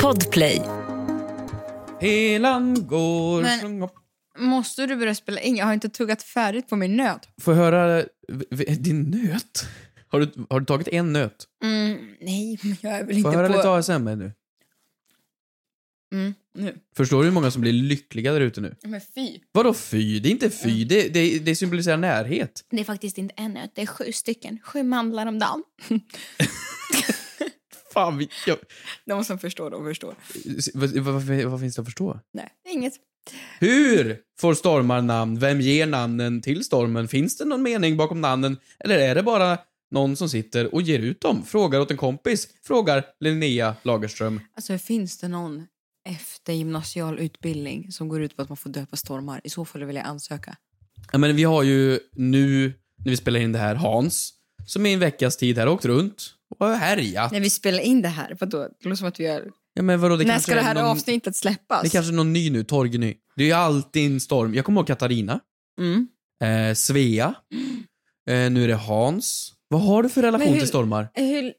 Podplay. Helan går... Men- sjung upp. Måste du börja spela in? Jag har inte tuggat färdigt på min nöt. Får jag höra v- v- din nöt? Har du, har du tagit en nöt? Mm, nej, men jag är väl Får inte jag höra på... lite ASMR nu? Mm, nu. Förstår du hur många som blir lyckliga där ute nu? Men fy. Vadå fy? Det är inte fy, Mm. det, det, det symboliserar närhet. Det är faktiskt inte en nöt, det är sju stycken. Sju mamlar om dagen. Fan, vi, jag, De som förstår, de förstår. vad, vad, vad finns det att förstå? Nej, inget. Hur får stormar namn? Vem ger namnen till stormen? Finns det någon mening bakom namnen? Eller är det bara någon som sitter och ger ut dem? Frågar åt en kompis? Frågar Linnea Lagerström. Alltså finns det någon eftergymnasial utbildning som går ut på att man får döpa stormar? I så fall vill jag ansöka. Ja, men vi har ju nu, när vi spelar in det här, Hans, som i en veckas tid här har åkt runt och har härjat. När vi spelar in det här, vadå? Det låter som att vi gör... Ja, men vadå, det När kanske ska det är här någon... avsnittet släppas? Det är kanske är någon ny nu, Torgny. Det är ju alltid en storm. Jag kommer ihåg Katarina, Mm. eh, Svea, eh, nu är det Hans. Vad har du för relation Men hur- till stormar? Mm. Hur...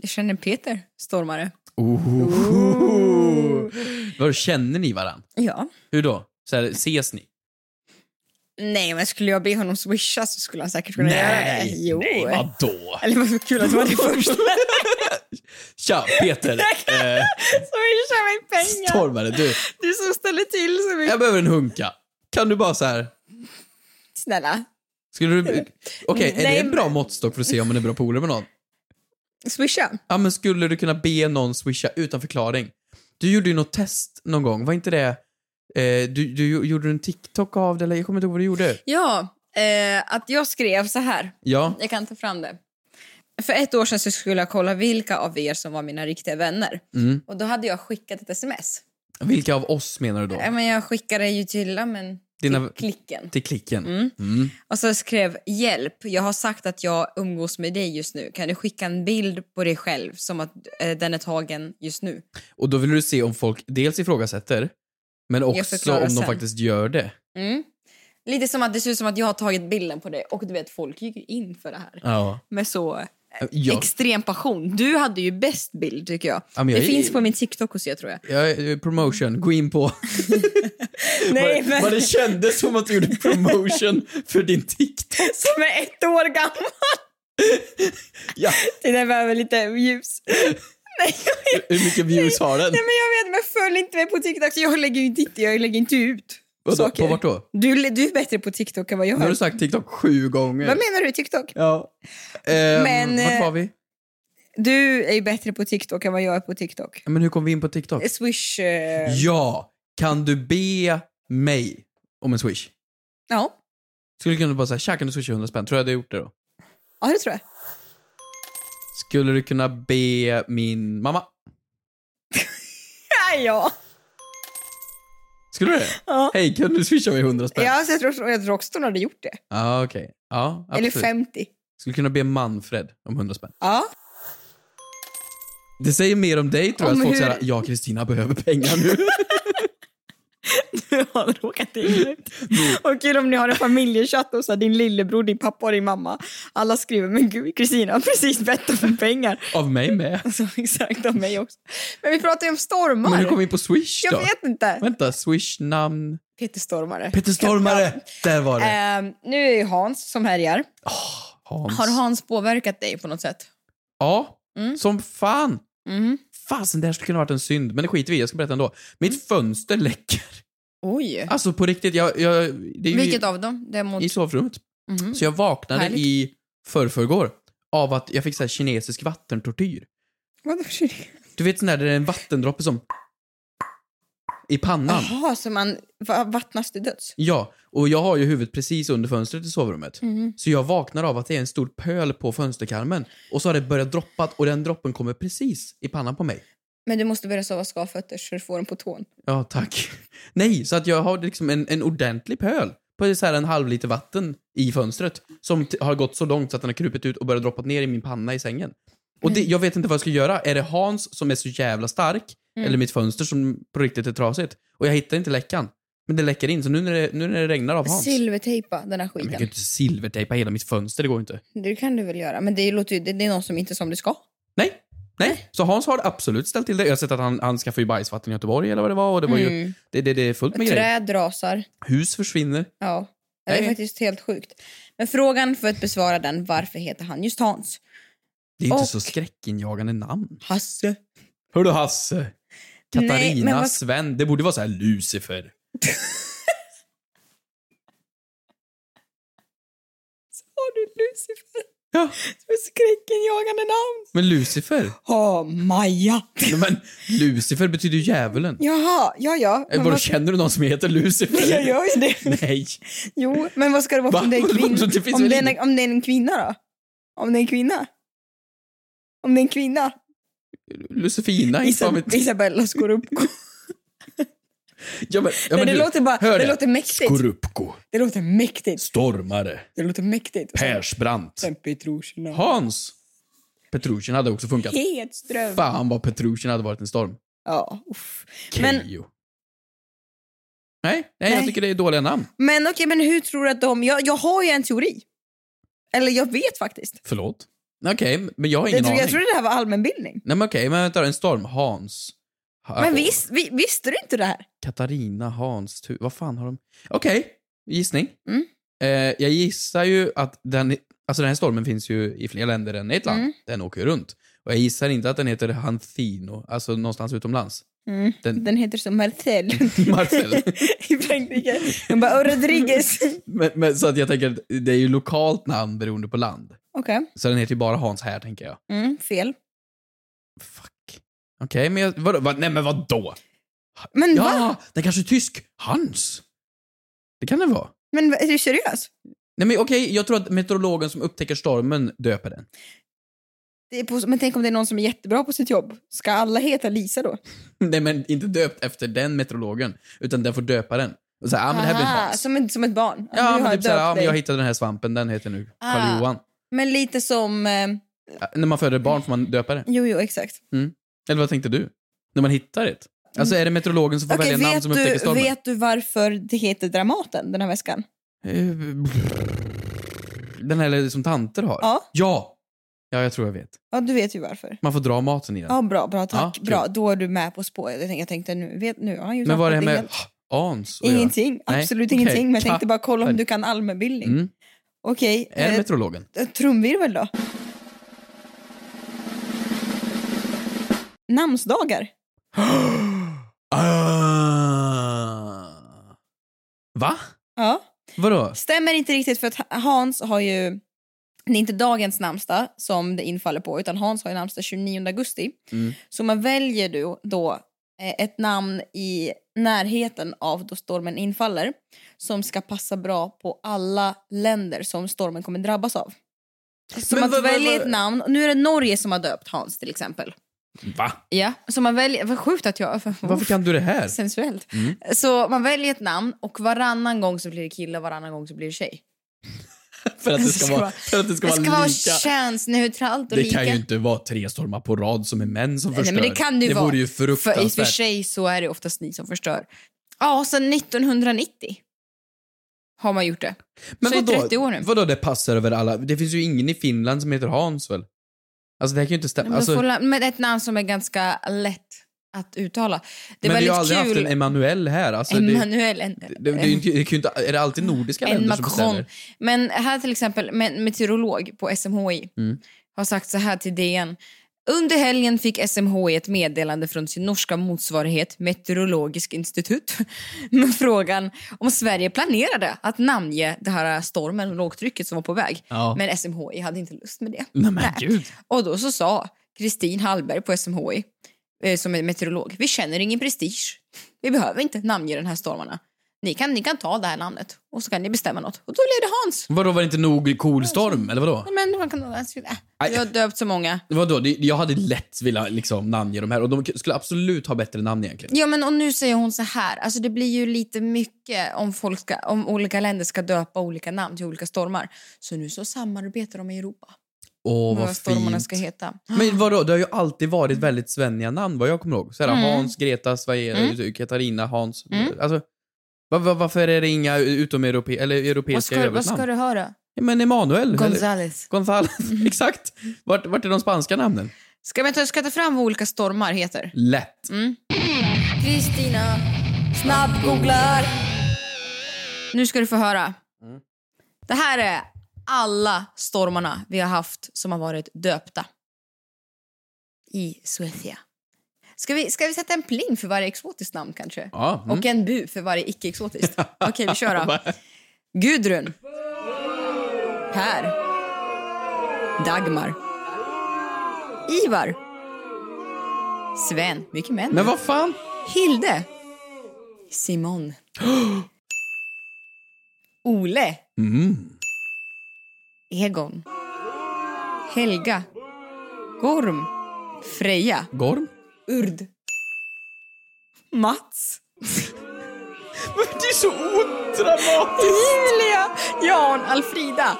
Jag känner Peter, stormare. Ooh. Vad känner ni varann? Ja. Hur då? Så här, ses ni? Nej, men skulle jag be honom swisha så skulle han säkert kunna göra det. Jo. nej, vadå? Eller vad så kul att det var det första. Tja, Peter. eh, Swisha mig pengar! stormare, du. Du som ställer till så mycket. Jag behöver en hunka. Kan du bara så här... Snälla, Skulle du... Okej, är det Mm. Nej, en bra men- måttstock för att se om man är bra polare med någon? swisha. Ja, men skulle du kunna be någon swisha utan förklaring? Du gjorde ju något test någon gång, var inte det... Eh, du, du gjorde en TikTok av det, eller jag kommer inte ihåg vad du gjorde. Ja, eh, att jag skrev så här. Ja. Jag kan ta fram det. För ett år sedan så skulle jag kolla vilka av er som var mina riktiga vänner. Mm. Och då hade jag skickat ett sms. Vilka av oss menar du då? Ja, men jag skickade ju till, ja, men, Dina- till klicken. Till klicken? Mm. Mm. Och så skrev hjälp, jag har sagt att jag umgås med dig just nu. Kan du skicka en bild på dig själv som att eh, den är tagen just nu? Och då vill du se om folk dels ifrågasätter, men också förklarar om de sen. faktiskt gör det. Mm. Lite som att det ser ut som att jag har tagit bilden på dig och du vet folk gick ju in för det här. Ja. Med så Jag, extrem passion. Du hade ju bäst bild tycker jag. Ja, men jag det är- finns på min TikTok hos er tror jag. jag, är- eh, promotion, gå in på... Nej vad, vad men det kändes som att du gjorde promotion för din TikTok. som är ett år gammal. Ja. Det där behöver lite ljus. Nej jag, vet- Hur mycket views har den? nej men jag vet men följ inte mig på TikTok. Så jag lägger ju inte, jag lägger inte ut Vadå, saker. på vart då? Du, du är bättre på TikTok än vad jag Nu har är. du sagt TikTok sju gånger. Vad menar du TikTok? Ja. Men, Men, vart eh, var vi? Du är ju bättre på TikTok än vad jag är på TikTok. Men hur kom vi in på TikTok? Swish... Eh... Ja, kan du be mig om en swish? Ja. Skulle du kunna bara säga tja kan du swisha 100 spänn? Tror jag du hade gjort det då? ja, det tror jag. Skulle du kunna be min mamma? Ja, ja. Skulle du det? Ja. Hej, kan du swisha mig 100 spänn? Ja, så jag, tror, jag tror också hon hade gjort det. Ja, okej. Ja, absolut. Eller 50. Skulle du kunna be Manfred om 100 spänn? Ja. Det säger mer om dig tror jag, Om att folk hur- säger ja Kristina behöver pengar nu. Du har råkat illa ut. Och kul om ni har en familjechatt och så här, din lillebror, din pappa och din mamma. Alla skriver men gud, Kristina har precis bett om pengar. Av mig med. Alltså, exakt, av mig också. Men vi pratar ju om stormar. Men hur kom vi in på swish då? jag vet inte. Vänta, swish namn... Peter Stormare. Peter Stormare! Där var det. Ehm, nu är ju Hans som härjar. Hans. Har Hans påverkat dig på något sätt? Ja, Mm. som fan. Mm. Fasen, det här skulle kunna varit en synd, men det skiter vi i. Jag ska berätta ändå. Mitt fönster läcker. Oj. Alltså på riktigt, jag... jag det är ju Vilket av dem? Det är mot... I sovrummet. Mhm. Så jag vaknade Härligt. i förrförrgår av att jag fick så här kinesisk vattentortyr. Vadå för det? Du vet sån där där det är en vattendroppe som... I pannan. Jaha, så man va- vattnas till döds? Ja, och jag har ju huvudet precis under fönstret i sovrummet. Så jag vaknar av att det är en stor pöl på fönsterkarmen. Och så har det börjat droppa och den droppen kommer precis i pannan på mig. Men du måste börja sova skavfötter så du får dem på tån. Ja, tack. Nej, så att jag har liksom en, en ordentlig pöl på så här en halv liter vatten i fönstret som t- har gått så långt så att den har krupit ut och börjat droppa ner i min panna i sängen. Och det, jag vet inte vad jag ska göra. Är det Hans som är så jävla stark eller mitt fönster som på riktigt är trasigt? Och jag hittar inte läckan. Men det läcker in, så nu när det, nu när det regnar av Hans... Silvertejpa den här Men jag skiten. kan ju inte silvertejpa hela mitt fönster, det går ju inte. det kan du väl göra. Men det låter ju, det, det är någon som inte är som det ska. Nej! Nej, så Hans har absolut ställt till det. Jag har sett att han, han skaffade ju bajsvatten i Göteborg eller vad det var. Och det, var ju, Mm. det, det, det är fullt med grejer. Träd rasar. Hus försvinner. Ja. Det är Nej. faktiskt helt sjukt. Men frågan för att besvara den, varför heter han just Hans? Det är inte Och- så skräckinjagande namn. Hasse. Hördu Hasse. Nej, Katarina, men vad- Sven. Det borde vara så här Lucifer. Har du Lucifer? Ja. Som är skräckinjagande namn. Men Lucifer? Ja, Maja. Nej, men Lucifer betyder ju djävulen. Jaha, ja, ja. Eller Men vadå, vad- känner du någon som heter Lucifer? Jag gör ju det. Nej. Jo, men vad ska det vara Va? om det är en kvinna? Det finns om, väl det är en, ingen- om det är en kvinna då? Om det är en kvinna? Om det är en kvinna? Lucifina? inte fan Isab- vet- Isabella Skorupko. Ja, men, ja, Nej, men det du, låter bara... hör Det det. låter mäktigt. Skorupko, Det låter mäktigt. Stormare, Det låter mäktigt. Och sen- Persbrandt, Sen Petrusjna. Hans. Petrusjen hade också funkat. Hedström. Fan vad Petrusjen hade varit en storm. Ja, uff. Men- Keyyo. Nej, nej, jag Nej. tycker det är dåliga namn. Men okej, men hur tror du att de... Jag, jag har ju en teori. Eller jag vet faktiskt. Förlåt. Okej, men jag har Jag ingen tror, aning. jag trodde det här var allmänbildning. Men Nej men okej, men vänta då, en storm. Hans. Ha- visst, vi, visste du inte det här? Katarina, Hans, tu- vad fan har de... Okej, gissning. Mm. Eh, jag gissar ju att den... Alltså den här stormen finns ju i fler länder än ett land. Mm. Den åker ju runt. Och jag gissar inte att den heter Hanthino, alltså någonstans utomlands. Mm. Den- Den heter så Marcel Marcel. i Frankrike. De bara, "Och Rodriguez. Okej. men, men, så att jag tänker att det är ju lokalt namn beroende på land. Så den heter ju bara Hans här, tänker jag. Mm, fel. Fuck. Okej, men jag, vadå, vad, nej men vadå? Men Mm, va? Ja, den kanske är tysk. Hans? Det kan den vara. Men va- är du seriös? Nej men okej, jag tror att meteorologen som upptäcker stormen döper den. Det är på, men tänk om det är någon som är jättebra på sitt jobb. Ska alla heta Lisa då? Nej, men inte döpt efter den meteorologen, utan den får döpa den. Och så här, ah, men det här blir en Aha, dans. som, ett, som ett barn. Att du Ja, men har typ så här, döpt ja, men jag dig. hittade den här svampen, den heter nu Ah. Karl-Johan. men lite som... Eh, Ja, när man föder barn får man döpa det. jo, jo, exakt. Eller vad tänkte du? När man hittar det? Alltså är det meteorologen som får Mm. Okej, välja namn vet, som upptäcker du, stormen? vet du varför det heter Dramaten, den här väskan? Eh, Den här som tanter har? Ja. ja! Ja, jag tror jag vet. Ja, du vet ju varför. Man får dra maten i den. Ja, bra, bra, Ja, tack. kul. bra, då är du med på spåret. Jag tänkte, jag tänkte nu, vet, nu har han ju men vad är det tappat här med helt. ans? att göra? Ingenting, Nej, absolut okej. ingenting. Men jag tänkte bara kolla om Tack. du kan allmänbildning. Mm. Okej, Är det eh, meteorologen? trumvirvel då? Namnsdagar? ah. Va? Ja. Vadå? Stämmer inte riktigt för att Hans har ju... Det är inte dagens namnsdag som det infaller på utan Hans har ju namnsdag 29 augusti. Mm. Så man väljer du då eh, ett namn i närheten av då stormen infaller som ska passa bra på alla länder som stormen kommer drabbas av. Så Men man vad- vad- väljer vad- ett namn, och nu är det Norge som har döpt Hans till exempel. Va? Ja, så man väljer, vad sjukt att jag... Varför kan du det här? Sensuellt. Mm. Så man väljer ett namn och varannan gång så blir det kille och varannan gång så blir det tjej. För att det Det ska ska vara, vara- för att det ska Det ska vara vara lika. könsneutralt och Det lika. kan ju inte vara tre stormar på rad som är män som Nej, förstör. men det kan det ju det vara. vore ju för, I och för fruktansvärt. sig så är det oftast ni som förstör. Ja, sen 1990 har man gjort det. men så i vadå, 30 år nu. vadå det passar över alla? Det finns ju ingen i Finland som heter Hans väl? Alltså det här kan ju inte Men, stämma. då Alltså, får men la- men ett namn som är ganska lätt att uttala. Det är vi har väldigt aldrig haft en kul. Emanuel här. Alltså, det, det, Emmanuel. En, det, det, är ju inte- det kan ju inte, är det alltid nordiska en länder som Macron. bestämmer? Men här till exempel, en meteorolog på SMHI Mm. har sagt så här till DN. Under helgen fick SMHI ett meddelande från sin norska motsvarighet Meteorologisk institut med frågan om Sverige planerade att namnge det här stormen och lågtrycket som var på väg. Ja. Men SMHI hade inte lust med det. Nej men Nej. gud. Och då så sa Kristin Hallberg på SMHI, eh, som är meteorolog, vi känner ingen prestige. Vi behöver inte namnge den här stormarna. Ni kan, ni kan ta det här namnet och så kan ni bestämma något. Och då blev det Hans. Vadå var det inte nog cool storm eller vadå? Nej, Men man kan, Aj. jag har döpt så många. Vadå, det- jag hade lätt velat liksom namnge de här och de skulle absolut ha bättre namn egentligen. Ja men och nu säger hon så här, alltså det blir ju lite mycket om, folk ska, om olika länder ska döpa olika namn till olika stormar. Så nu så samarbetar de i Europa. Åh Vad vad stormarna fint. ska heta. Men vadå, det har ju alltid varit väldigt svenniga namn vad jag kommer ihåg. Såhär, Mm. Hans, Greta, Sverige, eh, Katarina, Hans. Mm. Alltså, va- va- varför är det inga utom europe eller Vad europeiska ska, vad ska övrigt-namn? du höra? Ja, Men Emanuel. eller- Gonzales. Mm. Gonzales. Exakt. Vart, vart är de spanska namnen? Ska, vi ta, ska jag ta fram vad olika stormar heter? Lätt. Mm. Kristina snabbgooglar. Nu ska du få höra. Mm. Det här är alla stormarna vi har haft som har varit döpta i Suecia. Ska vi, ska vi sätta en pling för varje exotiskt namn kanske? Ja. Mm. Och en bu för varje icke-exotiskt. Okej, vi kör då. Gudrun. Per. Dagmar. Ivar. Sven. Mycket män. Men vad fan? Hilde. Simon. Ole. Mm. Egon. Helga. Gorm. Freja. Gorm? Urd. Mats. Men det är så odramatiskt! Emilia. Jan. Alfrida.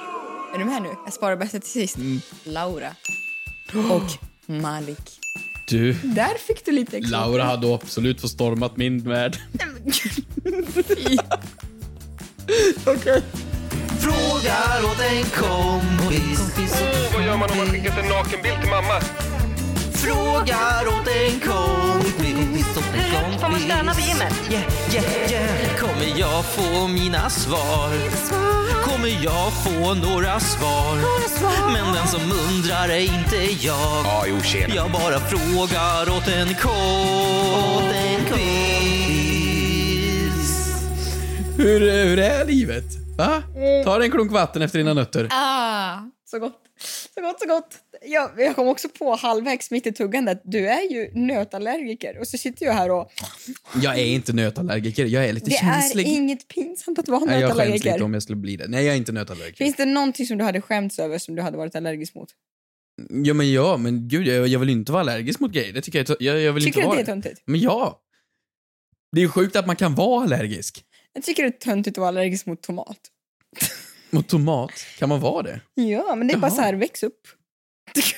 Är du med nu? Jag sparar bästa till sist. Mm. Laura. Och Malik. Du, Där fick du lite extra. Laura hade absolut förstormat min värld. Frågar åt en kompis. Vad gör man om man skickat en nakenbild till mamma? Frågar åt en kompis. Hur Mm, får man stöna på gymmet? Yeah, yeah, yeah. Kommer jag få mina svar? Kommer jag få några svar? Men den som undrar är inte jag. Ja, jo, tjena. Jag bara frågar åt en kompis. Hur, hur är livet? Va? Eh. Ta dig en klunk vatten efter dina nötter. Ah, så gott. Så gott, så gott. Jag, jag kom också på halvvägs mitt i tuggandet. Du är ju nötallergiker och så sitter jag här och... Jag är inte nötallergiker, jag Ah, är lite Det är känslig. inget pinsamt att vara Nej, jag skäms nötallergiker. lite om jag skulle bli det. Nej, jag är inte nötallergiker. Finns det någonting som du hade skämts över som du hade varit allergisk mot? Ja, men ja, men gud, jag, jag vill inte vara allergisk mot grejer. Det tycker jag, är t- jag, jag vill Tycker inte du vara att det är töntigt? Men ja. Det är sjukt att man kan vara allergisk. Jag tycker det är töntigt att vara allergisk mot tomat. Mot tomat, kan man vara det? Ja, men det är bara Jaha. så här, väx upp.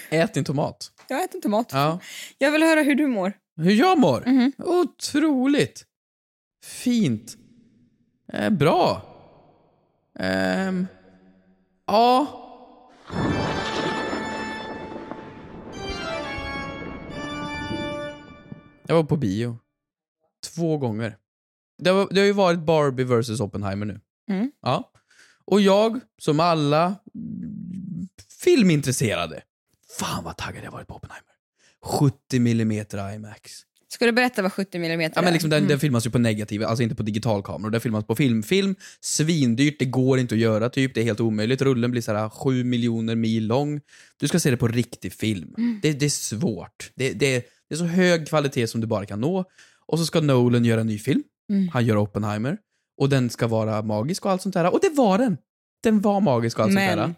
Ät din tomat. Jag äter tomat. Ja. Jag vill höra hur du mår. Hur jag mår? Mhm. Otroligt. Fint. Eh, bra. Ehm. Ja. Jag var på bio. Två gånger. Det har, det har ju varit Barbie vs Oppenheimer nu. Mm. Ja. Och jag, som alla mm, filmintresserade, fan vad taggad jag varit på Oppenheimer. 70 mm IMAX. Ska du berätta vad 70 mm Ja, men liksom den, är? den filmas ju på negativ, alltså inte på digital kamera. Den filmas på film. Film, svindyrt, det går inte att göra typ. Det är helt omöjligt. Rullen blir så här 7 miljoner mil lång. Du ska se det på riktig film. Mm. Det, det är svårt. Det, det, är- det är så hög kvalitet som du bara kan nå. Och så ska Nolan göra en ny film. Mm. Han gör Oppenheimer. Och den ska vara magisk och allt sånt där. Och det var den! Den var magisk och allt sånt där. Men-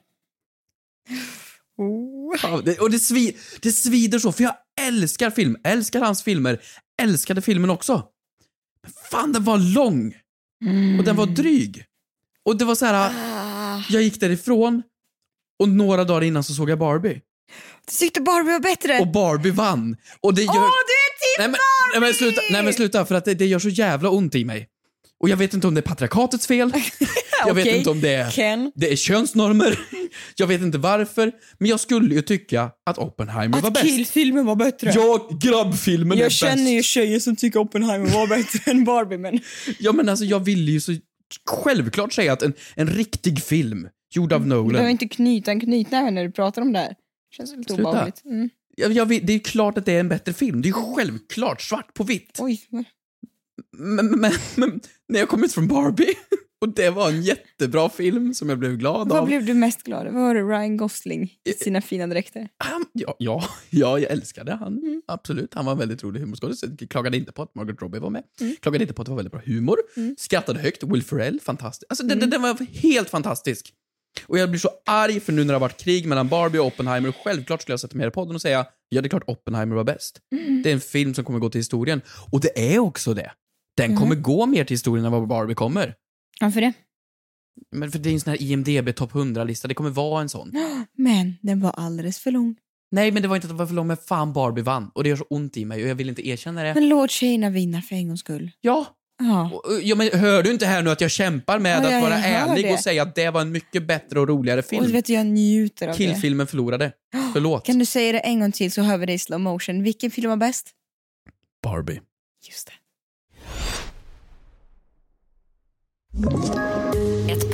Oh. Ja, det, och det, svi, det svider så, för jag älskar film, älskar hans filmer, älskade filmen också. Men fan, den var lång! Och den var dryg. Och det var så här, Mm. Ah. jag gick därifrån och några dagar innan så såg jag Barbie. Du tyckte Barbie var bättre. Och Barbie vann. Och det gör... Eh. Åh, du är till nej, men, nej, men sluta, nej men sluta, för att det, det gör så jävla ont i mig. Och jag vet inte om det är patriarkatets fel. Jag vet Okej. inte om det är... Ken. Det är könsnormer. Jag vet inte varför, men jag skulle ju tycka att Oppenheimer var Att bäst. killfilmen var bättre. Ja, grabbfilmen är jag bäst. känner ju tjejer som tycker Oppenheimer var bättre än Barbie, men... Ja, men alltså, jag ville ju så självklart säga att en, en riktig film gjord av Du behöver Nolan. inte knyta en knytnäve när du pratar om det här. Känns lite Sluta. obehagligt. Mm. Jag, jag, vill- det är klart att det är en bättre film. Det är ju självklart, svart på vitt. Oj. vad- Men, men, men, men när jag kom ut från Barbie och det var en jättebra film som jag blev glad Vad av. blev du mest glad över? Var det Ryan Gosling Eh. i sina fina dräkter? Han, ja, ja, ja, jag älskade han. Absolut. Han var en väldigt rolig humorskådis. Jag Klagade inte på att Margaret Robbie var med. Klagade inte på att det var väldigt bra humor. Skrattade högt. Will Ferrell, fantastisk. Alltså, den, den- den var helt fantastisk. Och jag blir så arg för nu när det har varit krig mellan Barbie och Oppenheimer. Självklart skulle jag sätta mig här i podden och säga ja, det är klart Oppenheimer var bäst. Det är en film som kommer gå till historien. Och det är också det. Den kommer gå mer till historien än vad Barbie kommer. Varför det? Men för det är en sån här IMDB topp 100-lista. Det kommer vara en sån. Men den var alldeles för lång. Nej, men det var inte att det var för långt, men fan Barbie vann. Och det gör så ont i mig och jag vill inte erkänna det. Men låt tjejerna vinna för en gångs skull. Ja, Ja. Och, Ja, men hör du inte här nu att jag kämpar med Ja, att jag vara hör ärlig det. och säga att det var en mycket bättre och roligare Och du film? vet, jag njuter av det. Killfilmen förlorade. Förlåt. Kan du säga det en gång till så hör vi det i slow motion. Vilken film var bäst? Barbie. Just det. Ett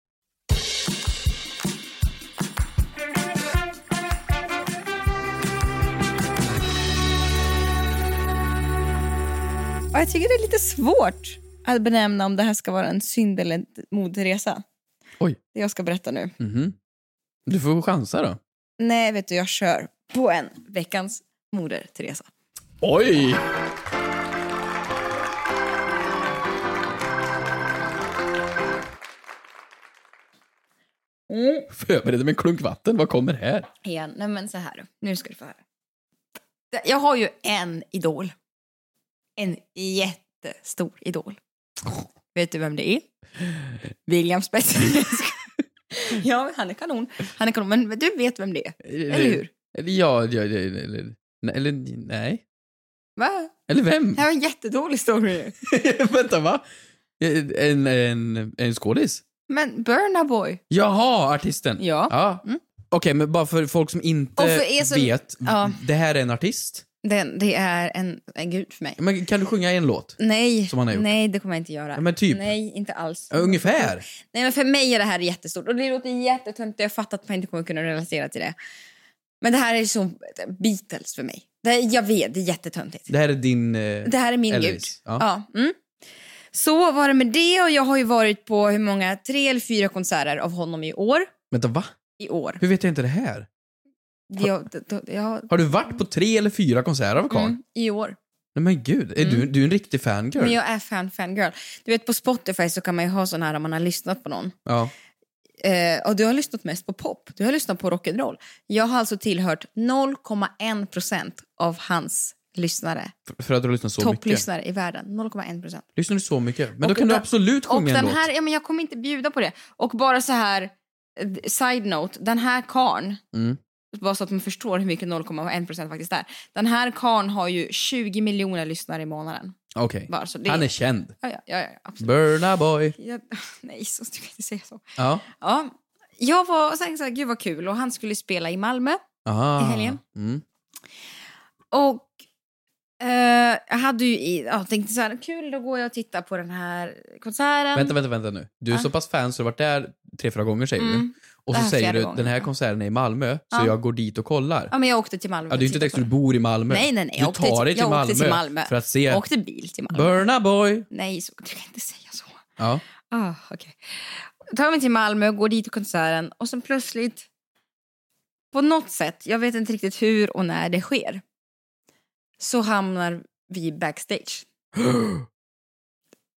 Och jag tycker det är lite svårt att benämna om det här ska vara en synd eller en modresa. Oj. Det jag ska berätta nu. Mhm. Du får chansa då. Nej, vet du, jag kör på en veckans moder Teresa. Oj! Mm. Förbereder med en klunk vatten. Vad kommer här? Igen. Nej, men så här. Nu ska du få höra. Jag har ju en idol. En jättestor idol. Vet du vem det är? William Spets. ja, men han är kanon. Han är kanon. Men du vet vem det är, eller hur? Eller ja, ja, ja eller, nej, eller nej. Va? Eller vem? Det här var en jättedålig story. ju. Vänta, va? En, en, en skådis? Men Burna Boy. Jaha, artisten. Ja. Mm. Okej, men bara för folk som inte Och för er som- vet. Ja. Det här är en artist. Den, det är en, en gud för mig. Men kan du sjunga en låt? Nej, Som han har gjort. nej det kommer jag inte göra. Ja, men typ. Nej, inte alls. Ungefär. Nej, men för mig är det här jättestort. Och det låter jättetöntigt. Jag fattar att man inte kommer kunna relatera till det. Men det här är som Beatles för mig. Det här, jag vet, det är jättetöntigt. Det här är din... eh, Det här är min Elvis, gud. ja. Ja, mm. Så var det med det. Och jag har ju varit på hur många? Tre eller fyra konserter av honom i år. Vänta, va? I år. Hur vet jag inte det här? Jag, jag, jag, Har du varit på tre eller fyra konserter av Karl? mm, I år. Nej men gud, är du, du är en riktig fangirl. Men jag är fan fangirl. Du vet på Spotify så kan man ju ha sån här om man har lyssnat på någon. Ja. Eh, och du har lyssnat mest på pop. Du har lyssnat på rock'n'roll. Jag har alltså tillhört 0,1 procent av hans lyssnare. För, för att du har lyssnat så mycket. Topplyssnare i världen. 0,1 procent. Lyssnar du så mycket? Men då Och kan du den- absolut Och sjunga en den låt. här, ja, men jag kommer inte bjuda på det. Och bara så här, eh, side note, den här karn Mm. bara så att man förstår hur mycket 0,1 procent faktiskt är. Den här karn har ju 20 miljoner lyssnare i månaden. Okej. Bara, så det, Han är känd. ja, ja, ja, ja, absolut. Burna boy. Jag, nej, så ska jag inte säga så. Ja. Ja, jag var så här, så här, gud vad kul och han skulle spela i Malmö. Aha. I helgen. Mm. Och eh, jag hade ju i, ja, tänkte så här, kul då går jag och tittar på den här konserten. Vänta, vänta, vänta nu. Du är Ah. så pass fan så du har varit där tre, fyra gånger säger du. Mm. Och Det så här är säger fjärde du gången, den här ja. konserten är i Malmö, så Ja. jag går dit och kollar. Ja, men jag åkte till Malmö. Ja, det är ju inte för att direkt titta att du på bor i Malmö. den. Nej, nej, nej. Du Jag åkte, tar dig till jag Malmö, åkte till Malmö. för att se Jag åkte bil till Malmö. Burna boy. Nej, så, du kan inte säga så. Ja. Ah, okej. Tar mig till Malmö och går dit till konserten och sen plötsligt på något sätt, jag vet inte riktigt hur och när det sker, så hamnar vi backstage.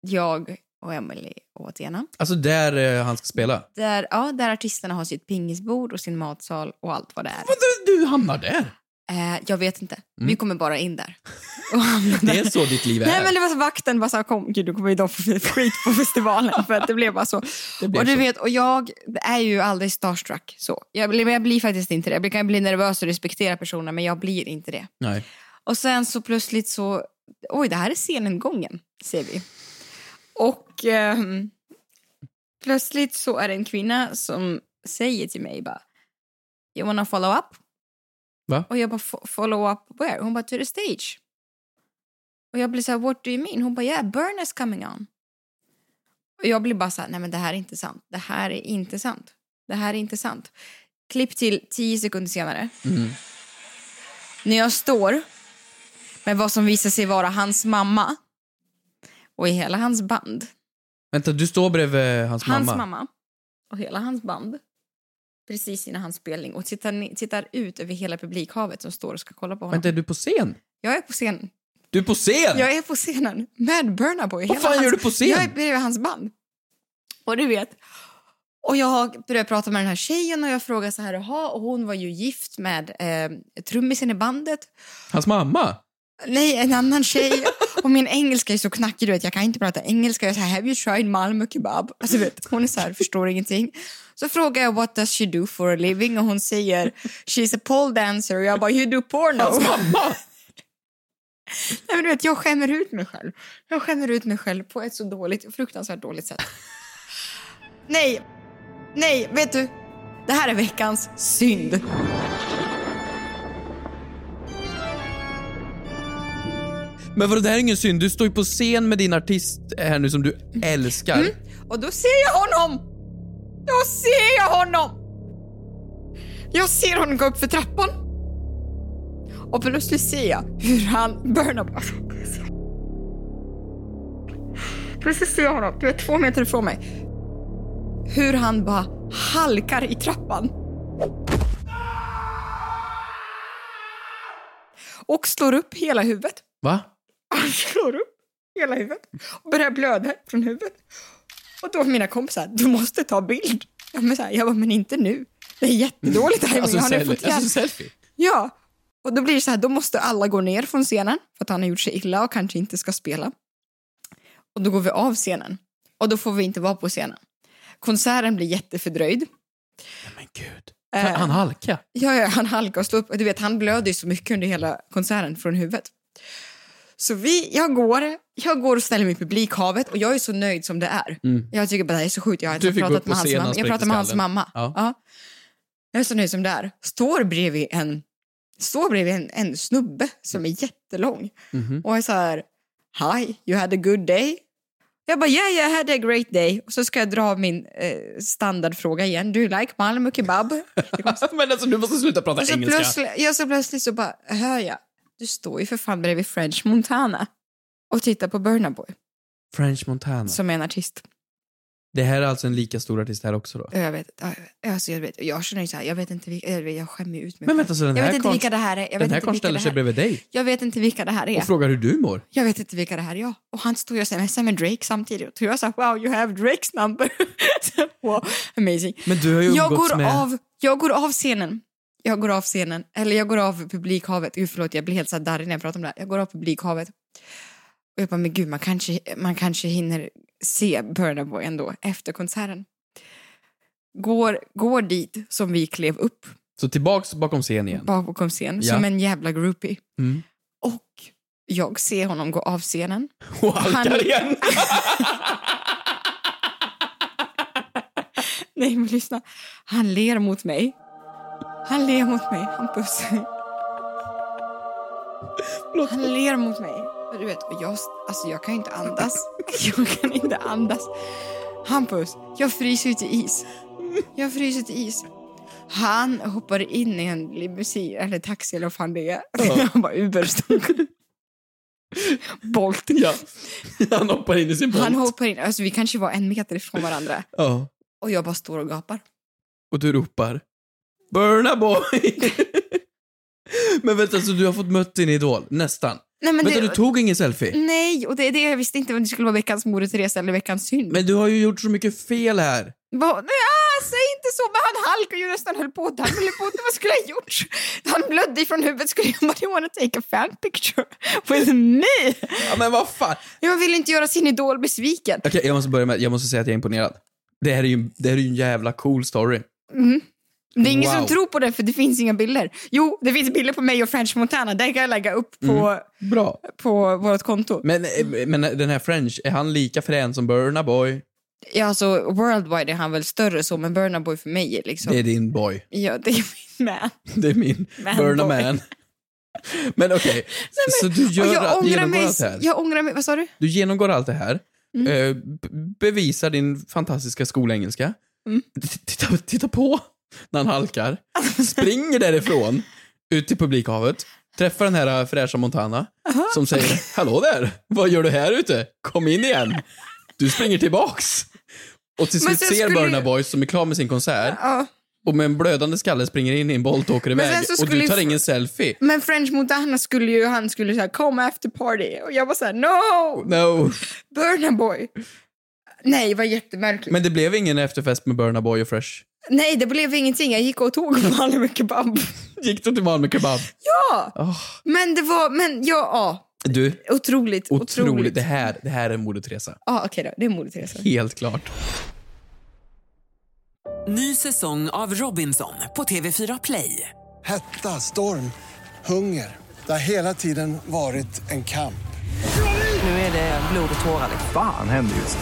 Jag och Emily och Athena. Alltså där eh, han ska spela. Där, ja, där artisterna har sitt pingisbord och sin matsal och allt vad det är. Vadå, Du hamnar där. Eh, jag vet inte. Vi kommer bara in där. Och hamnar Det där. är så ditt liv är. Nej men det var så vakten bara så här, kom, gud du kommer ju då få skit på festivalen för att det blev bara så. Det blev och du så. vet, och jag är ju aldrig starstruck så. Jag blir, men jag blir faktiskt inte det. Jag kan bli nervös och respektera personer men jag blir inte det. Nej. Och sen så plötsligt så, oj det här är scenengången, ser vi. Och ehm, plötsligt så är det en kvinna som säger till mig bara, you wanna follow up? Va? Och jag bara, "Fo- follow up where? Hon bara, to the stage. Och jag blir så här, what do you mean? Hon bara, yeah, burn is coming on. Och jag blir bara så här, nej men det här är inte sant. Det här är inte sant. Det här är inte sant. Klipp till tio sekunder senare. När jag står med vad som visar sig vara hans mamma och i hela hans band. Vänta, du står bredvid hans, Hans mamma. mamma. och hela hans band precis innan hans spelning och tittar, ni- tittar ut över hela publikhavet som står och ska kolla på honom. Vänta, är du på scen? Jag är på scenen. Du är på scen! Jag är på scenen med Burna Boy. Vad fan gör du på scen? Jag är bredvid hans band. Och du vet, och jag började prata med den här tjejen och jag frågade så här, jaha, och hon var ju gift med eh, trummisen i bandet. Hans mamma? Nej, en annan tjej. Och min engelska är så knackig, du vet. Jag kan inte prata engelska. Jag är så här, have you tried Malmö kebab? Alltså, du vet, hon är så här, förstår ingenting. Så frågar jag, what does she do for a living? Och hon säger, she's a pole dancer. Och jag bara, you do porno. Mamma! Nej, men du vet, jag skämmer ut mig själv. Jag skämmer ut mig själv på ett så dåligt, fruktansvärt dåligt sätt. Nej, nej, vet du? Det här är veckans synd. Men vadå, det här är ingen synd. Du står ju på scen med din artist här nu som du Mm. älskar. Och då ser jag honom! Då ser jag honom! Jag ser honom gå upp för trappan. Och plötsligt ser jag hur han burnar bara... Plötsligt ser jag honom, du är två meter ifrån mig. Hur han bara halkar i trappan. Och slår upp hela huvudet. Va? Han slår upp hela huvudet och börjar blöda från huvudet. Och då var mina kompisar, du måste ta bild. Ja, men så här, jag bara, men inte nu. Det är jättedåligt timing. Alltså, har ni sel- fått alltså igen? selfie? Ja. Och då blir det så här, då måste alla gå ner från scenen för att han har gjort sig illa och kanske inte ska spela. Och då går vi av scenen. Och då får vi inte vara på scenen. Konserten blir jättefördröjd. Men gud. Eh. Han halka. Ja, ja, han halkar och slår upp. Du vet, han blöder ju så mycket under hela konserten från huvudet. Så vi, jag går, jag går och ställer mig i publikhavet och jag är så nöjd som det är. Mm. Jag tycker bara det här är så sjukt. Jag har Du inte fick gå pratat upp med på hans scenen, mamma. han Jag pratat med hans spräckte mamma. skallen. Ja. Jag är så nöjd som det är. Står bredvid en, står bredvid en, en snubbe som är jättelång Mhm. och är så här, hi, you had a good day. Jag bara, yeah, yeah, I had a great day. Och så ska jag dra min eh, standardfråga igen. Do you like Malmö kebab? Men alltså du måste sluta prata Och så engelska. plötsligt, ja, så plötsligt så bara hör jag, du står ju för fan bredvid French Montana och tittar på Burna Boy Mm. French Montana. som är en artist. Det här är alltså en lika stor artist här också då? Och Jag vet, ja, jag- alltså jag vet, jag känner ju så här, jag vet inte vilka, jag, vet, jag skämmer ju ut mig. Men själv. vänta, så den jag vet här inte karln vilka det här är. Jag den vet här inte karln vilka ställer det sig här bredvid dig Jag vet inte vilka det här och är. frågar hur du mår. Jag vet inte vilka det här är. Ja. Och han står ju och smsar med Drake samtidigt. Och jag sa wow, you have Drakes number. Så, wow, amazing. Men du har ju jag umgåtts går, med... av, jag går av scenen. Jag går av scenen. Eller jag går av publikhavet. Gud, förlåt, jag blir helt så här darrig när jag pratar om det här. Jag går av publikhavet. Och jag bara, men gud, man kanske, man kanske hinner se Burna Boy ändå efter konserten. Går, går dit som vi klev upp Så tillbaks bakom scen igen. bakom scen Ja. som en jävla groupie. Mm. Och jag ser honom gå av scenen. Och halkar Han- igen. Nej, men lyssna. Han ler mot mig. Han ler mot mig. Han pussar. Han ler mot mig. Och du vet, och jag, alltså jag kan ju inte andas. Jag kan inte andas. Hampus, jag fryser ju till is. Jag fryser till is. Han hoppar in i en limousin, eller taxi eller vad fan det är. Han bara Uber stod. Bolt. ja. Han hoppar in i sin båt. Han hoppar in, alltså vi kanske var en meter ifrån varandra. Ja. Och jag bara står och gapar. Och du ropar Burna boy! Men vänta, så du har fått mött din idol? Nästan. Nej, men vänta, det- du tog ingen selfie? Nej, och det är det jag visste inte om det skulle vara veckans Moder Teresa eller veckans synd. Men du har ju gjort så mycket fel här. Va? Nej, ah, säg inte så! Men han halkade ju nästan höll på att han höll på att Vad skulle jag ha gjort? Han blödde ifrån huvudet. Skulle jag bara, you wanna take a fan picture with me? Ja, men vad fan. Jag vill inte göra sin idol besviken. Okej, jag måste börja med, jag måste säga att jag är imponerad. Det här är ju, det här är ju en jävla cool story. Det är ingen Wow. som tror på det för det finns inga bilder. Jo, det finns bilder på mig och French Montana. Det kan jag lägga upp på, Mm. Bra. på vårt konto. Men, eh, men den här French, är han lika frän som Burna boy? Ja, alltså, worldwide är han väl större så, men Burna Boy för mig är liksom... Det är din boy. Ja, det är min man. Det är min Man Burna boy. man. Men okej, så du Och gör, jag ångrar, genomgår mig, allt det här? jag ångrar mig. Vad sa du? Du genomgår allt det här, Mm. eh, b- bevisar din fantastiska skolengelska, Mm. T- titta, titta på när han halkar, springer därifrån ut till publikhavet, träffar den här eh, fräscha Montana som säger “Hallå där, vad gör du här ute? Kom in igen!” Du springer tillbaks! Och till Men slut sen ser skulle Burna ju- Boys som är klar med sin konsert Ja. och med en blödande skalle springer in i en bolt och åker Men iväg sen så och skulle du ju tar fr- ingen selfie. Men French Montana skulle ju, han skulle säga come after party. Och jag var såhär no! No! Burna boy. Nej, det var jättemärkligt. Men det blev ingen efterfest med Burna Boy och Fresh? Nej, det blev ingenting. Jag gick och tog Malmö kebab. Gick du till Malmö Kebab? Ja! Åh, Men det var, men ja, ja. du, Otroligt, otroligt. otroligt. Det, här, det här är Moder Teresa. Ja, okej då. Det är modigt, Therese. Helt klart. Ny säsong av Robinson på TV4 Play. Hetta, storm, hunger. Det har hela tiden varit en kamp. Nu är det blod och tårar. liksom. Fan händer just nu.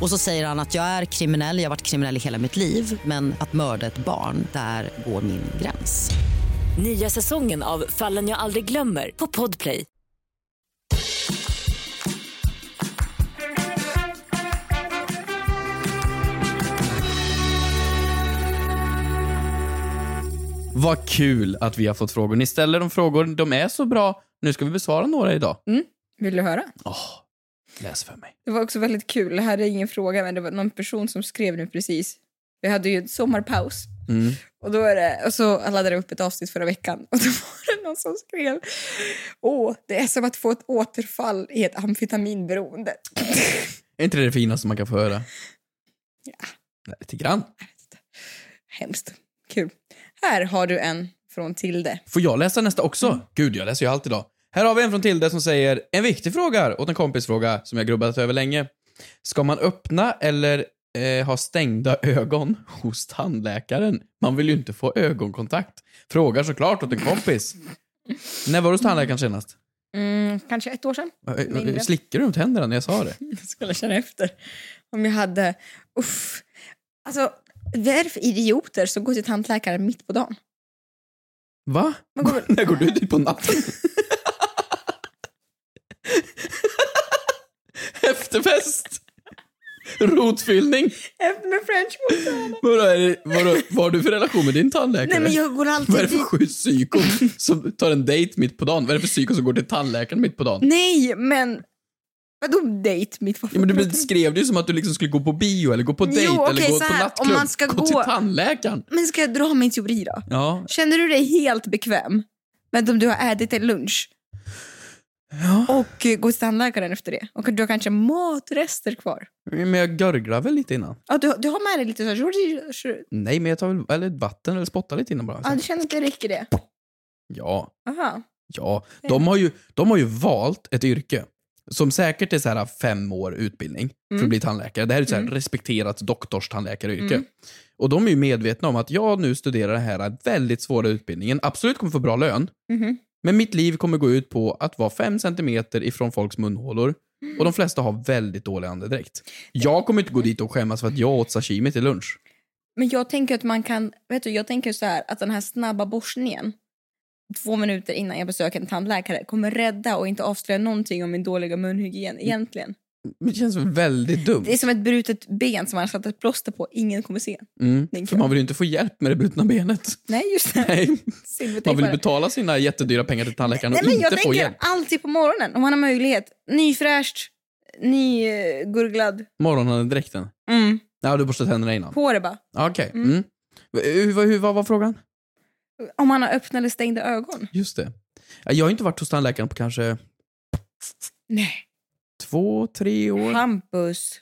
Och så säger han att jag är kriminell, jag har varit kriminell i hela mitt liv men att mörda ett barn, där går min gräns. Nya säsongen av Fallen jag aldrig glömmer på Podplay. Vad kul att vi har fått frågor. Ni ställer de frågor, de är så bra. Nu ska vi besvara några idag. Vill du höra? Läs för mig. Det var också väldigt kul. Det här är ingen fråga, men det var någon person som skrev nu precis. Vi hade ju en sommarpaus. Mm. Och, då är det, och så jag laddade jag upp ett avsnitt förra veckan och då var det någon som skrev Åh, det är som att få ett återfall i ett amfetaminberoende. Är inte det det finaste man kan få höra? Ja. Lite grann. Hemskt. Kul. Här har du en från Tilde. Får jag läsa nästa också? Gud, jag läser ju allt idag. Här har vi en från Tilde som säger en viktig fråga åt en kompisfråga som jag grubbat över länge. Ska man öppna eller eh, ha stängda ögon hos tandläkaren? Man vill ju inte få ögonkontakt. Frågar såklart åt en kompis. När var du hos tandläkaren senast? Mm, kanske ett år sedan. Eh, eh, Mindre. Slickade du runt händerna när jag sa det? Jag skulle känna efter om jag hade... Uff. Alltså, vad är det för idioter som går till tandläkaren mitt på dagen? Va? Man går väl- När går du dit på natten? Efterfest? Rotfyllning? Efter med french mozzarella. Vadå, är det- vadå, vad har du för relation med din tandläkare? Nej, men jag går Vad är det alltid för dit. sju psykon som tar en dejt mitt på dagen? Vad är det för psykon som går till tandläkaren mitt på dagen? Nej, men... Vadå dejt mitt på Ja, men du beskrev det ju som att du liksom skulle gå på bio eller gå på Mm. Jo, dejt eller okej, gå så på här, om nattklubb. man ska gå, gå- till tandläkaren. Men ska jag dra min teori då? Ja. Känner du dig helt bekväm med om du har ätit en lunch och eh, går till tandläkaren efter det? Och du har kanske matrester kvar? Men jag görglar väl lite innan? Ja, du, du har med dig lite så här... Nej, men jag tar väl eller vatten eller spottar lite innan bara. Ja, du känner att det räcker det? Ja. Aha. Ja, de har, ju, de har ju valt ett yrke som säkert är så här fem år utbildning för att Mm. bli tandläkare. Det här är ett så här respekterat doktorstandläkaryrke. Och de är ju medvetna om att jag nu studerar den här väldigt svåra utbildningen, absolut kommer få bra lön, Mhm. men mitt liv kommer gå ut på att vara fem centimeter ifrån folks munhålor och de flesta har väldigt dålig andedräkt. Jag kommer inte gå dit och skämmas för att jag åt sashimi till lunch. Men jag tänker att man kan, vet du, jag tänker så här att den här snabba borstningen två minuter innan jag besöker en tandläkare kommer rädda och inte avslöja någonting om min dåliga munhygien egentligen. Men det känns väl väldigt dumt. Det är som ett brutet ben som man har satt ett plåster på, ingen kommer se. Mm, tänker för jag. man vill ju inte få hjälp med det brutna benet. Nej just det, Nej. Man vill silvertejpare. betala sina jättedyra pengar till tandläkaren Nej och men jag inte få tänker hjälp. alltid på morgonen om man har möjlighet. Nyfräscht, eh, nygurglad, Morgonandedräkten. mm. Ja, du borstat tänderna innan. håret bara. Ja, Okej. Mm. Hur, hur, vad var frågan? Om man har öppna eller stängda ögon. Just det. Ja, Jag har inte varit hos tandläkaren på kanske Nej. två, tre år. Hampus,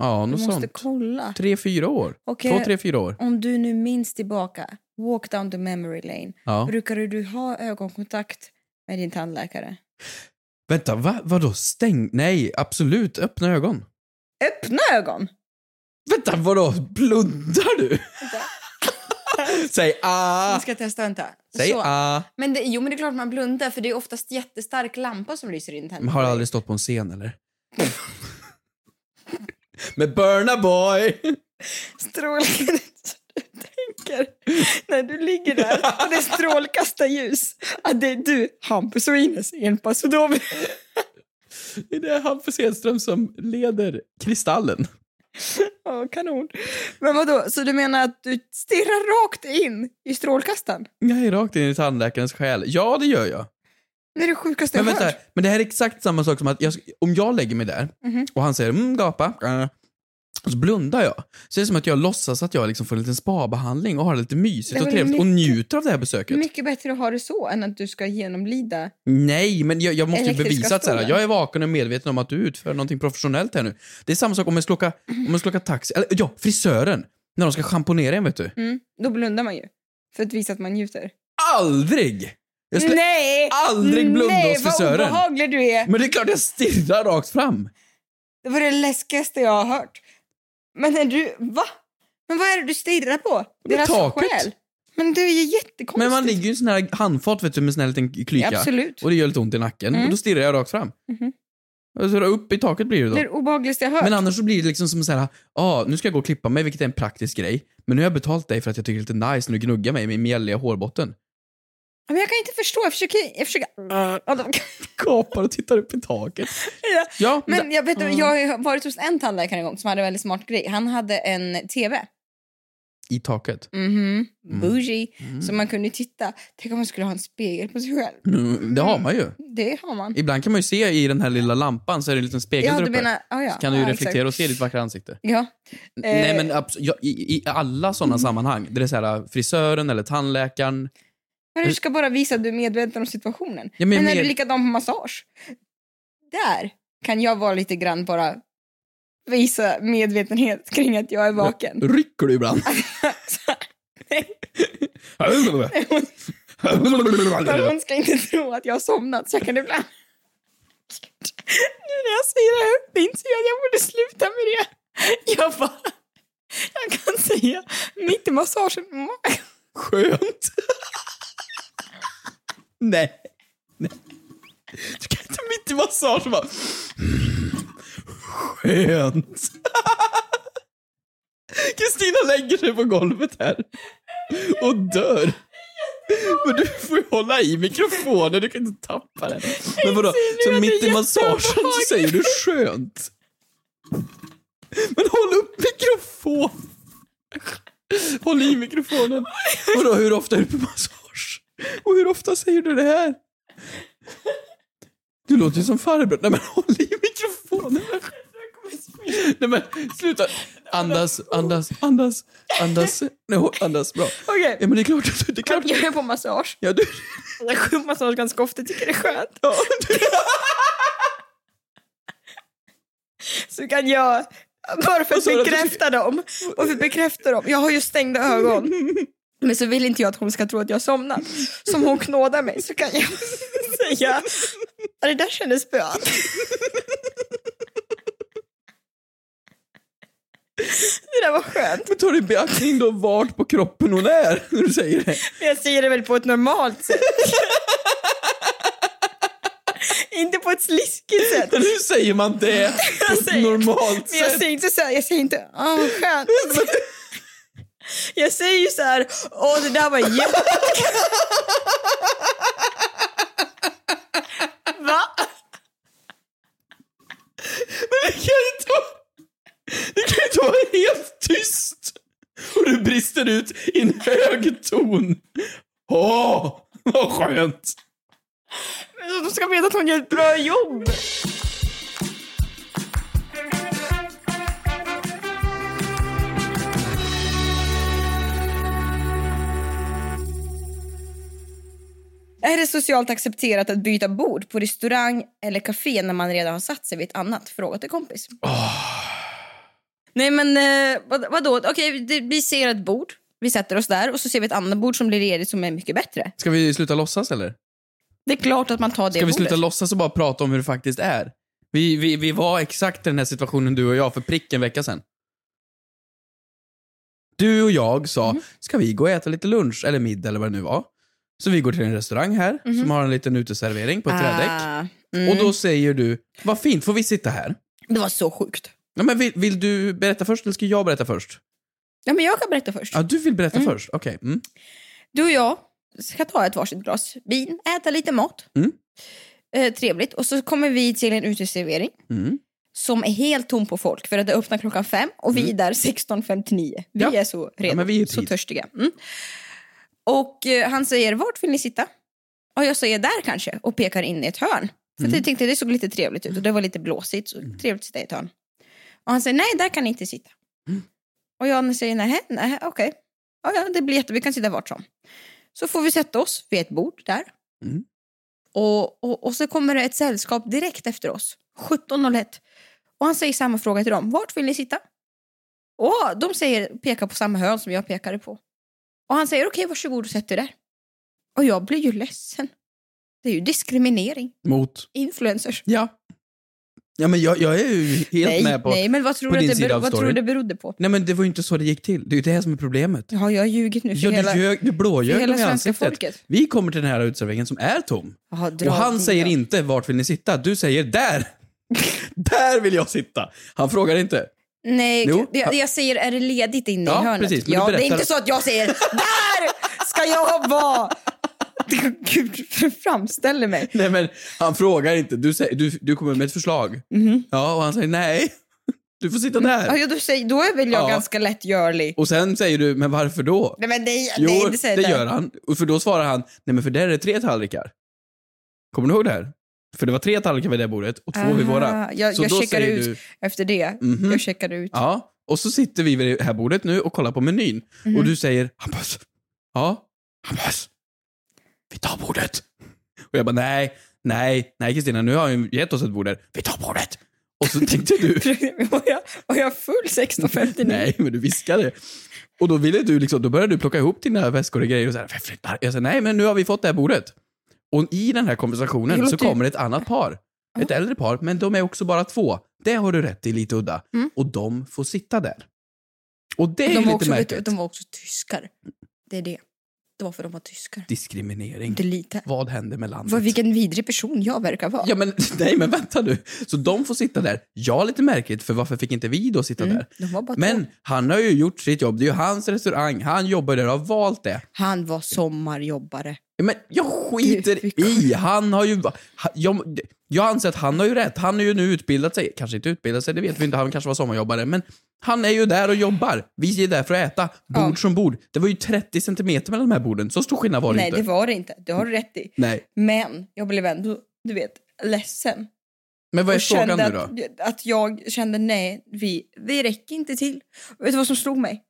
Ja, du något måste sånt. kolla. Tre, fyra år. Okej. Två, tre, fyra år. Om du nu minns tillbaka, walk down the memory lane. Ja. Brukar du ha ögonkontakt med din tandläkare? Vänta, va? vadå? Stäng? Nej, absolut. Öppna ögon. Öppna ögon! Vänta, vadå? Blundar du? Säg ah! Jag ska testa, vänta. Säg Så. ah! Men det, jo men det är klart man blundar för det är oftast jättestark lampa som lyser in tänderna. Men har aldrig stått på en scen eller? Med Burna Boy! Strålkastare du tänker när du ligger där och det är strålkastarljus att det är du, Hampus och Ines Enpas och Dovi. Det är Hampus Hedström som leder Kristallen. Ja, kanon. Men vadå, så du menar att du stirrar rakt in i strålkastaren? Nej, rakt in i tandläkarens själ. Ja, det gör jag. Det är det sjukaste jag Men har vänta, hört. men det här är exakt samma sak som att jag, om jag lägger mig där Mhm. och han säger mm, gapa, äh, och så blundar jag. Så är det som att jag låtsas att jag liksom får en liten spabehandling och har det lite Det mysigt är och väl trevligt och mycket- njuter av det här besöket. Mycket bättre att ha det så än att du ska genomlida. Nej, men jag, jag måste ju Elektriska bevisa att så här, stolen. jag är vaken och medveten om att du utför någonting professionellt här nu. Det är samma sak om jag ska åka, om jag ska åka taxi, eller ja, frisören. När de ska schamponera en, vet du. Mm, då blundar man ju. För att visa att man njuter. Aldrig! Jag skulle Nej! aldrig blunda Nej, hos frisören. vad obehaglig du är. Men det är klart jag stirrar rakt fram. Det var det läskigaste jag har hört. Men är du, va? Men vad är det du stirrar på? Det är Deras taket. själ? Men du är ju jättekonstig. Men man ligger ju i sån här handfat vet du, med sån här liten klyka. Ja, absolut. Och det gör lite ont i nacken. Mm. Och då stirrar jag rakt fram. Mhm. Och Så då upp i taket blir det då. Det är det obehagligaste jag har hört. Men annars så blir det liksom som så här, ah, nu ska jag gå och klippa mig, vilket är en praktisk grej. Men nu har jag betalt dig för att jag tycker det är lite nice när du gnuggar mig med min mjälliga hårbotten. Ja, Men jag kan inte förstå, jag försöker... Jag försöker... Ah. Kapar och tittar upp i taket. Ja, Men jag, vet, du, Mm. jag har ju varit hos en tandläkare en gång som hade en väldigt smart grej. Han hade en tv. I taket. Mhm. Mm. Bougie. Mm. Så man kunde ju titta. Tänk om man skulle ha en spegel på sig själv. Mm, det har man ju. Det har man. Ibland kan man ju se i den här lilla lampan så är det en liten spegel Ja, där du uppe. menar- ja, ah, ja. Så kan du ju Ja, reflektera exakt. och se ditt vackra ansikte. Ja. Nej Eh, men abs- ja, i, i alla sådana Mm. sammanhang, där det är så här, äh, frisören eller tandläkaren. Men du ska bara visa att du är medveten om situationen. Ja, men men är med- du likadan på massage? Där kan jag vara lite grann bara visa medvetenhet kring att jag är vaken. Rycker du ibland? Men hon ska inte tro att jag har somnat så jag kan ibland... Nu när jag säger det här högt inser jag att jag borde sluta med det. Jag bara... Jag kan säga mitt i massagen... "Mm." Skönt. Nej. Nej. Du kan inte mitt i massagen bara... Skönt. Kristina lägger sig på golvet här och dör. Men du får ju hålla i mikrofonen, du kan inte tappa den. Men vadå, så mitt i massagen så säger du skönt? Men håll upp mikrofonen! Håll i mikrofonen. Vadå, hur ofta är du på massage? Och hur ofta säger du det här? Du låter ju som farbror. Nej men håll i mikrofonen. Nej men sluta. Andas, andas, andas, andas. Nej, hå- andas bra. Okej. Ja men det är klart att du... Det är klart att Jag du är på massage. ja, du, Jag går på massage ganska ofta, tycker det är skönt. Så kan jag, bara för Vad att sa du att du bekräfta dem, och för att bekräfta dem, jag har ju stängda ögon. Men så vill inte jag att hon ska tro att jag har somnat. Så om hon knådar mig så kan jag säga, "Ja, det där kändes böt. Det där var skönt. Men tar du i beaktning då vart på kroppen hon är när du säger det? Men jag säger det väl på ett normalt sätt. inte på ett sliskigt sätt. Hur säger man det på Jag ett säger- normalt Men jag sätt? säger inte så här, jag säger inte åh vad skönt. jag säger ju så här, åh det där var jättekul. Va? Men det kan ju inte vara... Det kan ju inte vara helt tyst! Och du brister ut i en hög ton. Åh, vad skönt! Men De ska veta att hon gör ett bra jobb. Är det socialt accepterat att byta bord på restaurang eller café när man redan har satt sig vid ett annat? Fråga till kompis. Nej men eh, vad, vadå? Okej, det- vi ser ett bord. Vi sätter oss där och så ser vi ett annat bord som blir ledigt som är mycket bättre. Ska vi sluta låtsas eller? Det är klart att man tar det Ska vi bordet. sluta låtsas och bara prata om hur det faktiskt är? Vi, vi, vi var exakt i den här situationen du och jag för prick en vecka sedan. Du och jag sa, Mhm. ska vi gå och äta lite lunch eller middag eller vad det nu var? Så vi går till en restaurang här som har en liten uteservering på ett trädäck. Mhm. mm. Och då säger du, vad fint, får vi sitta här? Det var så sjukt. Ja, men vill, vill du berätta först eller ska jag berätta först? Ja, men jag kan berätta först. Ja, du vill berätta Mm. först. Okej. Mm. Du och jag ska ta ett varsitt glas vin, äta lite mat. Mm. Eh, trevligt. Och så kommer vi till en uteservering. Mm. som är helt tom på folk. För att det öppnar klockan fem och vi är där 16.59. Vi Ja. är så Ja, redo, men vi är i så tid. törstiga. Mm. Och eh, han säger, vart vill ni sitta? Och jag säger, där kanske. Och pekar in i ett hörn. För att Mm. jag tänkte, det såg lite trevligt ut. Och det var lite blåsigt, Mm. så trevligt att sitta i ett hörn. Och han säger, nej, där kan ni inte sitta. Mm. Och jag säger, nej, nej, okej. Ja, ja, det blir jättebra, vi kan sitta vart som. Så får vi sätta oss vid ett bord där. Mm. Och, och, och så kommer det ett sällskap direkt efter oss. 17.01. Och han säger samma fråga till dem. Vart vill ni sitta? Och de säger, pekar på samma hörn som jag pekade på. Och han säger okej, varsågod och sätt er där. Och jag blir ju ledsen. Det är ju diskriminering. Mot? Influencers. Ja. Ja, men jag, jag är ju helt nej, med på nej, men vad tror på du att din det, sida bero- av vad tror du storyn. det berodde på? Nej, men det var ju inte så det gick till. Det är ju det här som är problemet. Ja, jag har ljugit nu för Ja, hela... du, ljög, du blåljög för hela dem i svenska ansiktet. folket. Vi kommer till den här uteserveringen som är tom. Jaha, dra och han dit säger då. inte vart vill ni sitta? Du säger där! där vill jag sitta! Han frågar inte. Nej, Jo, jag, han- jag säger är det ledigt inne Ja, i hörnet? precis, men du ja, det är berättar- inte så att jag säger där ska jag vara. Gud, framställer mig. Nej men han frågar inte. Du, säger, du, du kommer med ett förslag. Mhm. Ja, och han säger nej. Du får sitta där. Ja, ja, då, säger, då är väl jag Ja. ganska lättgörlig. Och sen säger du, men varför då? Nej, men det, Jo, det, det, säger jag gör inte. han. Och för då svarar han, nej men för där är det tre tallrikar. Kommer du ihåg det här? För det var tre tallrikar vid det bordet och två vid Ah, våra. Jag, Så jag då checkar säger ut du- efter det. Mhm. Jag checkar ut. Ja, och så sitter vi vid det här bordet nu och kollar på menyn. Mhm. Och du säger Hampus, ja, Hampus, vi tar bordet. Och jag bara nej, nej, nej Kristina, nu har han ju gett oss ett bord där. Vi tar bordet. Och så tänkte du, Var jag, var jag full 16.59? nej, men du viskade. Och då ville du liksom, då började du plocka ihop dina väskor och grejer och så här, "Fy, flyttar." Jag säger nej, men nu har vi fått det här bordet. Och i den här Det konversationen låter så ju- kommer ett annat par. Ett äldre par, men de är också bara två. Det har du rätt i, lite udda. Mm. Och de får sitta där. Och det är de, ju var lite också, vet märkligt. du, de var också tyskar. Det är det. Det var för de var tyskar. Diskriminering. Inte lite. Vad händer med landet? Vad, vilken vidrig person jag verkar vara. Ja, men, nej, men vänta nu. Så de får sitta där. Ja, lite märkligt, för varför fick inte vi då sitta där? De var bara två. Men han har ju gjort sitt jobb. Det är ju hans restaurang. Han jobbar där och har valt det. Han var sommarjobbare. Men jag skiter i. Han har ju... ha- Jag, jag anser att han har ju rätt. Han har ju nu utbildat sig. Kanske inte utbildat sig, det vet vi inte. Han kanske var sommarjobbare. Men han är ju där och jobbar. Vi är där för att äta. Bord som bord. Det var ju 30 centimeter mellan de här borden. Så stor skillnad var det Nej, inte. det var det inte. Det har du rätt i. Nej. Men jag blev ändå, du vet, ledsen. Men vad är Och kände frågan nu då? Att, att jag kände nej, vi, vi räcker inte till. Och Vet du vad som slog mig?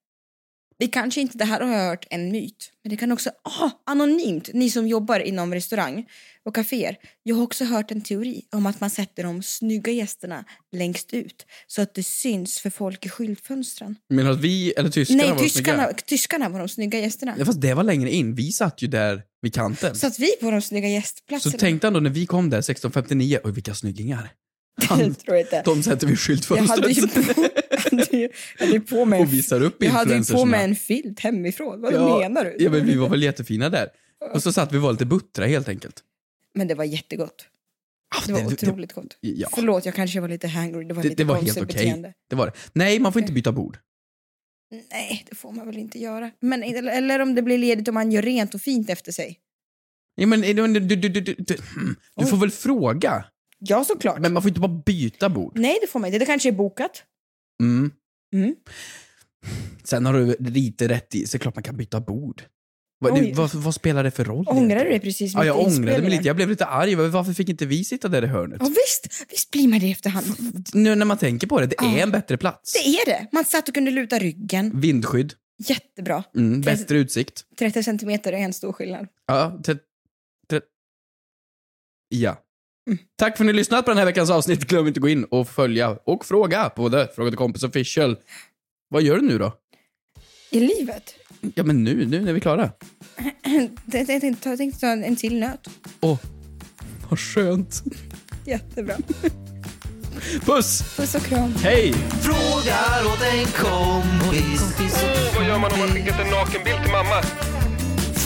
Det kanske inte, det här har jag hört en myt, men det kan också, ah, anonymt, ni som jobbar inom restaurang och kaféer. Jag har också hört en teori om att man sätter de snygga gästerna längst ut så att det syns för folk i skyltfönstren. Menar du att vi, eller tyskarna var nej, de tyskarna, snygga? tyskarna var de snygga gästerna. Ja, fast det var längre in. Vi satt ju där vid kanten. Så att vi på de snygga Så gästplatserna. tänkte han då när vi kom där 1659, oj vilka snyggingar. Det tror jag inte. De sätter vid Jag hade ju skyltfönstret på, hade ju, hade ju på mig en och visar upp Jag hade ju på mig influencersna. en filt hemifrån. Vad menar du? Ja men vi var väl jättefina där. Och så satt vi och var lite buttra helt enkelt. Ah, Men det var jättegott. Det var det- det- otroligt gott. Ja, Förlåt, jag kanske var lite hangry. Det var det, lite det var konstigt helt okej. beteende. Det var det. Nej, man får inte byta bord. Nej, det får man väl inte göra. Men, eller, eller om det blir ledigt och man gör rent och fint efter sig. Ja, men, eh, du, du, du, du, du, mm. du får väl fråga? Ja, såklart. Men man får inte bara byta bord. Nej, det får man inte. Det kanske är bokat. Mm. Mm. Sen har du lite rätt i, så är det klart man kan byta bord. Vad, Oj. det, vad, vad spelar det för roll? Ångrar du dig precis Ja, mitt i jag ångrade mig inspelningen? lite. Jag blev lite arg. Varför fick inte vi sitta där i hörnet? Ja, visst, visst blir man det i efterhand. Nu när man tänker på det, det är Ja. en bättre plats. Ah. Det är det. Man satt och kunde luta ryggen. Vindskydd, Jättebra. mm, Tre- bättre utsikt. 30 centimeter är en stor skillnad. Ja, tre, tre, ja. Tack för att ni har lyssnat på den här veckans avsnitt. Glöm inte att gå in och följa och fråga på både Fråga till kompis official. Vad gör du nu då? I livet. Ja, men nu, nu när vi är klara. Jag tänkte ta, jag tänkte ta en, en till nöt. Vad skönt. Jättebra. Puss! Puss och kram. Hej! Frågar åt en kompis. Åh, vad gör man om man skickat en nakenbild till mamma?